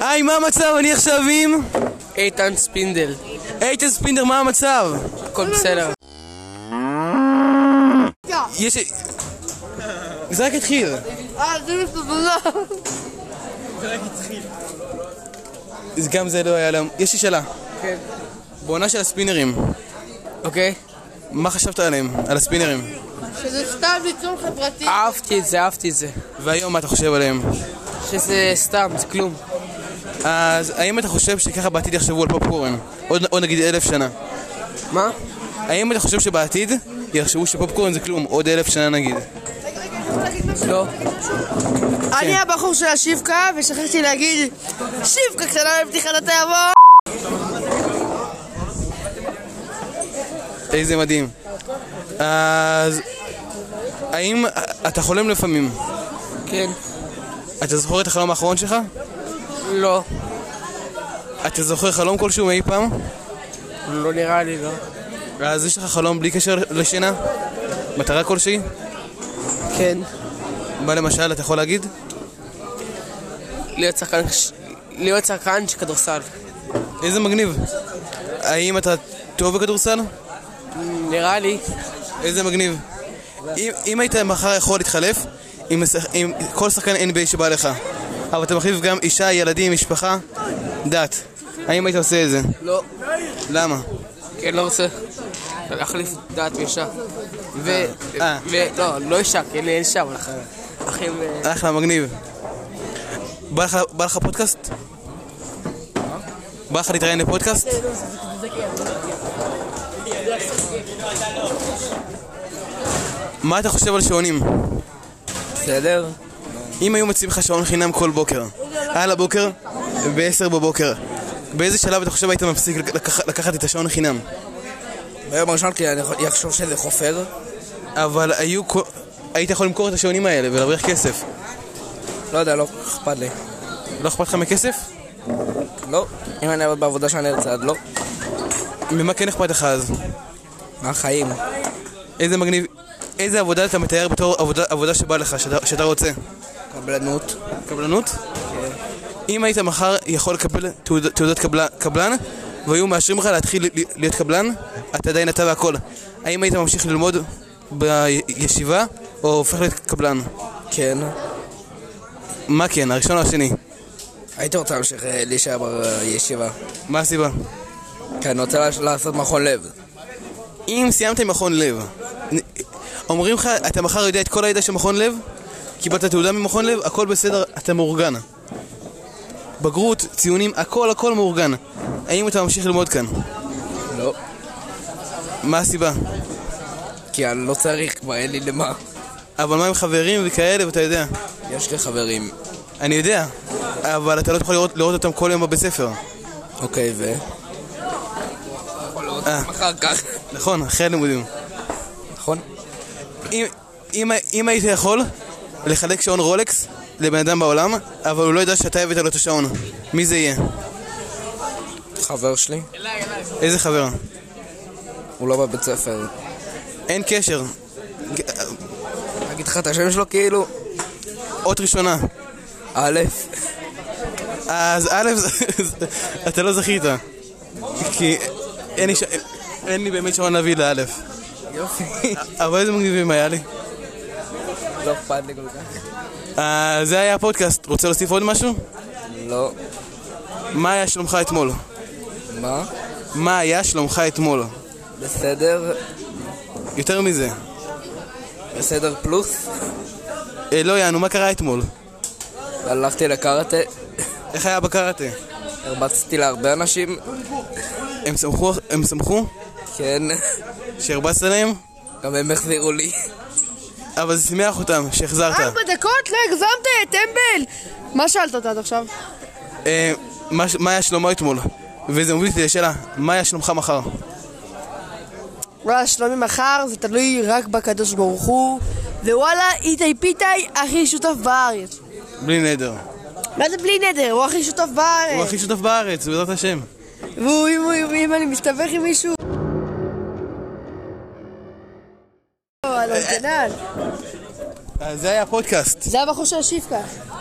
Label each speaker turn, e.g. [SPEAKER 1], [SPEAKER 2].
[SPEAKER 1] היי, מה המצב? אני עכשיו עם...
[SPEAKER 2] איתן ספינדל,
[SPEAKER 1] איתן ספינדר, מה המצב?
[SPEAKER 2] הכל בסדר.
[SPEAKER 1] יש... זה רק התחיל.
[SPEAKER 3] אה,
[SPEAKER 1] אז גם זה לא היה להם. יש לי שאלה.
[SPEAKER 2] כן.
[SPEAKER 1] בעונה של הספינרים,
[SPEAKER 2] אוקיי?
[SPEAKER 1] מה חשבת עליהם? על הספינרים?
[SPEAKER 3] שזה סתם ניצול חברתי.
[SPEAKER 1] אה,
[SPEAKER 2] אהבתי את זה, אהבתי את זה.
[SPEAKER 1] והיום מה אתה חושב עליהם?
[SPEAKER 2] שזה סתם, זה כלום.
[SPEAKER 1] אז האם אתה חושב שככה בעתיד יחשבו על פופקורן? עוד, עוד נגיד אלף שנה.
[SPEAKER 2] מה?
[SPEAKER 1] האם אתה חושב שבעתיד יחשבו שפופקורן זה כלום? עוד אלף שנה נגיד.
[SPEAKER 2] לא.
[SPEAKER 1] כן.
[SPEAKER 3] אני הבחור של השבקה, ושכחתי להגיד שבקה קטנה בפתיחת התיאבון.
[SPEAKER 1] איזה מדהים. אז... האם אתה חולם לפעמים?
[SPEAKER 2] כן.
[SPEAKER 1] אתה זוכר את החלום האחרון שלך?
[SPEAKER 2] לא.
[SPEAKER 1] אתה זוכר חלום כלשהו מאי פעם?
[SPEAKER 2] לא נראה לי, לא.
[SPEAKER 1] אז יש לך חלום בלי קשר לשינה? מטרה כלשהי?
[SPEAKER 2] כן.
[SPEAKER 1] מה למשל אתה יכול להגיד?
[SPEAKER 2] להיות שחקן... ש- להיות שחקן של כדורסל.
[SPEAKER 1] איזה מגניב. האם אתה טוב בכדורסל?
[SPEAKER 2] נראה לי.
[SPEAKER 1] איזה מגניב. אם, אם היית מחר יכול להתחלף עם, השח- עם כל שחקן NBA שבא לך, אבל אתה מחליף גם אישה, ילדים, משפחה, דת, האם היית עושה את זה?
[SPEAKER 2] לא.
[SPEAKER 1] למה?
[SPEAKER 2] כן, לא רוצה. להחליף דעת מאישה. ו...
[SPEAKER 1] אה.
[SPEAKER 2] ו... לא, לא אישה, כן, אין אישה, אבל אחר. אחים... אה,
[SPEAKER 1] אחלה, מגניב. בא לך, בא לך פודקאסט? בא לך להתראיין לפודקאסט? מה אתה חושב על שעונים?
[SPEAKER 2] בסדר.
[SPEAKER 1] אם היו מציעים לך שעון חינם כל בוקר, על הבוקר, ב-10 בבוקר, באיזה שלב אתה חושב היית מפסיק לקח, לקחת את השעון חינם?
[SPEAKER 4] ביום הראשון כי אני אחשוב שזה חופר.
[SPEAKER 1] אבל היו... כל- היית יכול למכור את השעונים האלה ולהרוויח כסף.
[SPEAKER 4] לא יודע, לא אכפת לי.
[SPEAKER 1] לא אכפת לך מכסף?
[SPEAKER 4] לא. אם אני אעבוד בעבודה שאני ארצה, אז לא.
[SPEAKER 1] ממה כן אכפת לך אז?
[SPEAKER 4] החיים.
[SPEAKER 1] איזה מגניב... איזה עבודה אתה מתאר בתור עבודה, עבודה שבא לך, שאתה, שאתה רוצה?
[SPEAKER 4] קבלנות.
[SPEAKER 1] קבלנות? אם היית מחר יכול לקבל תעוד, תעודת קבל, קבלן, והיו מאשרים לך להתחיל ל- ל- להיות קבלן, אתה עדיין אתה והכל. האם היית ממשיך ללמוד בישיבה, או הופך להיות קבלן?
[SPEAKER 4] כן.
[SPEAKER 1] מה כן, הראשון או השני?
[SPEAKER 4] הייתי רוצה להמשיך אה, להישאר בישיבה.
[SPEAKER 1] מה הסיבה?
[SPEAKER 4] כי אני רוצה לש- לעשות מכון לב.
[SPEAKER 1] אם סיימת עם מכון לב, נ- אומרים לך, אתה מחר יודע את כל הידע של מכון לב, קיבלת תעודה ממכון לב, הכל בסדר, אתה מאורגן. בגרות, ציונים, הכל הכל מאורגן. האם אתה ממשיך ללמוד כאן?
[SPEAKER 4] לא.
[SPEAKER 1] מה הסיבה?
[SPEAKER 4] כי אני לא צריך, כבר אין לי למה.
[SPEAKER 1] אבל מה עם חברים וכאלה, ואתה יודע.
[SPEAKER 4] יש לי חברים.
[SPEAKER 1] אני יודע, אבל אתה לא תוכל לראות, לראות אותם כל יום בבית ספר.
[SPEAKER 4] אוקיי, ו? יכול לראות אותם אחר כך.
[SPEAKER 1] נכון, אחרי הלימודים.
[SPEAKER 4] נכון?
[SPEAKER 1] אם, אם, אם היית יכול לחלק שעון רולקס לבן אדם בעולם, אבל הוא לא יודע שאתה הבאת לו את השעון, מי זה יהיה?
[SPEAKER 4] חבר שלי.
[SPEAKER 1] איזה חבר?
[SPEAKER 4] הוא לא בבית ספר.
[SPEAKER 1] אין קשר.
[SPEAKER 4] אגיד לך את השם שלו כאילו?
[SPEAKER 1] אות ראשונה.
[SPEAKER 4] א',
[SPEAKER 1] אז א', זה- אתה לא זכית. כי אין לי, ש... אין לי באמת שעון להביא לאלף.
[SPEAKER 4] יופי.
[SPEAKER 1] אבל איזה מגניבים היה לי.
[SPEAKER 4] לא אכפת לי כל כך.
[SPEAKER 1] אה, זה היה הפודקאסט. רוצה להוסיף עוד משהו?
[SPEAKER 4] לא.
[SPEAKER 1] מה היה שלומך אתמול?
[SPEAKER 4] מה?
[SPEAKER 1] מה היה שלומך אתמול?
[SPEAKER 4] בסדר,
[SPEAKER 1] יותר מזה.
[SPEAKER 4] בסדר פלוס,
[SPEAKER 1] אה, לא יענו, מה קרה אתמול?
[SPEAKER 4] הלכתי לקראטה,
[SPEAKER 1] איך היה בקראטה?
[SPEAKER 4] הרבצתי להרבה אנשים,
[SPEAKER 1] הם שמחו? הם שמחו?
[SPEAKER 4] כן,
[SPEAKER 1] שהרבצת להם?
[SPEAKER 4] גם הם החזירו לי.
[SPEAKER 1] אבל זה שימח אותם שהחזרת.
[SPEAKER 3] ארבע דקות? לא הגזמת, טמבל! מה שאלת אותה עד עכשיו?
[SPEAKER 1] אה, מה ש- מה היה שלומו אתמול? וזה מוביל אותי לשאלה, מה היה שלומך מחר?
[SPEAKER 3] וואלה, שלומי מחר, זה תלוי רק בקדוש ברוך הוא. ווואלה, איתי פיתאי הכי שותף בארץ.
[SPEAKER 1] בלי נדר.
[SPEAKER 3] מה זה בלי נדר? הוא הכי שותף
[SPEAKER 1] הוא
[SPEAKER 3] בארץ.
[SPEAKER 1] הכי שותף בארץ, בעזרת השם.
[SPEAKER 3] והוא, אם הוא- אם אני מסתבך עם מישהו... וואלה, הוא גנן. לא,
[SPEAKER 1] אה, אז זה היה הפודקאסט.
[SPEAKER 3] זה הבחור של השבקה.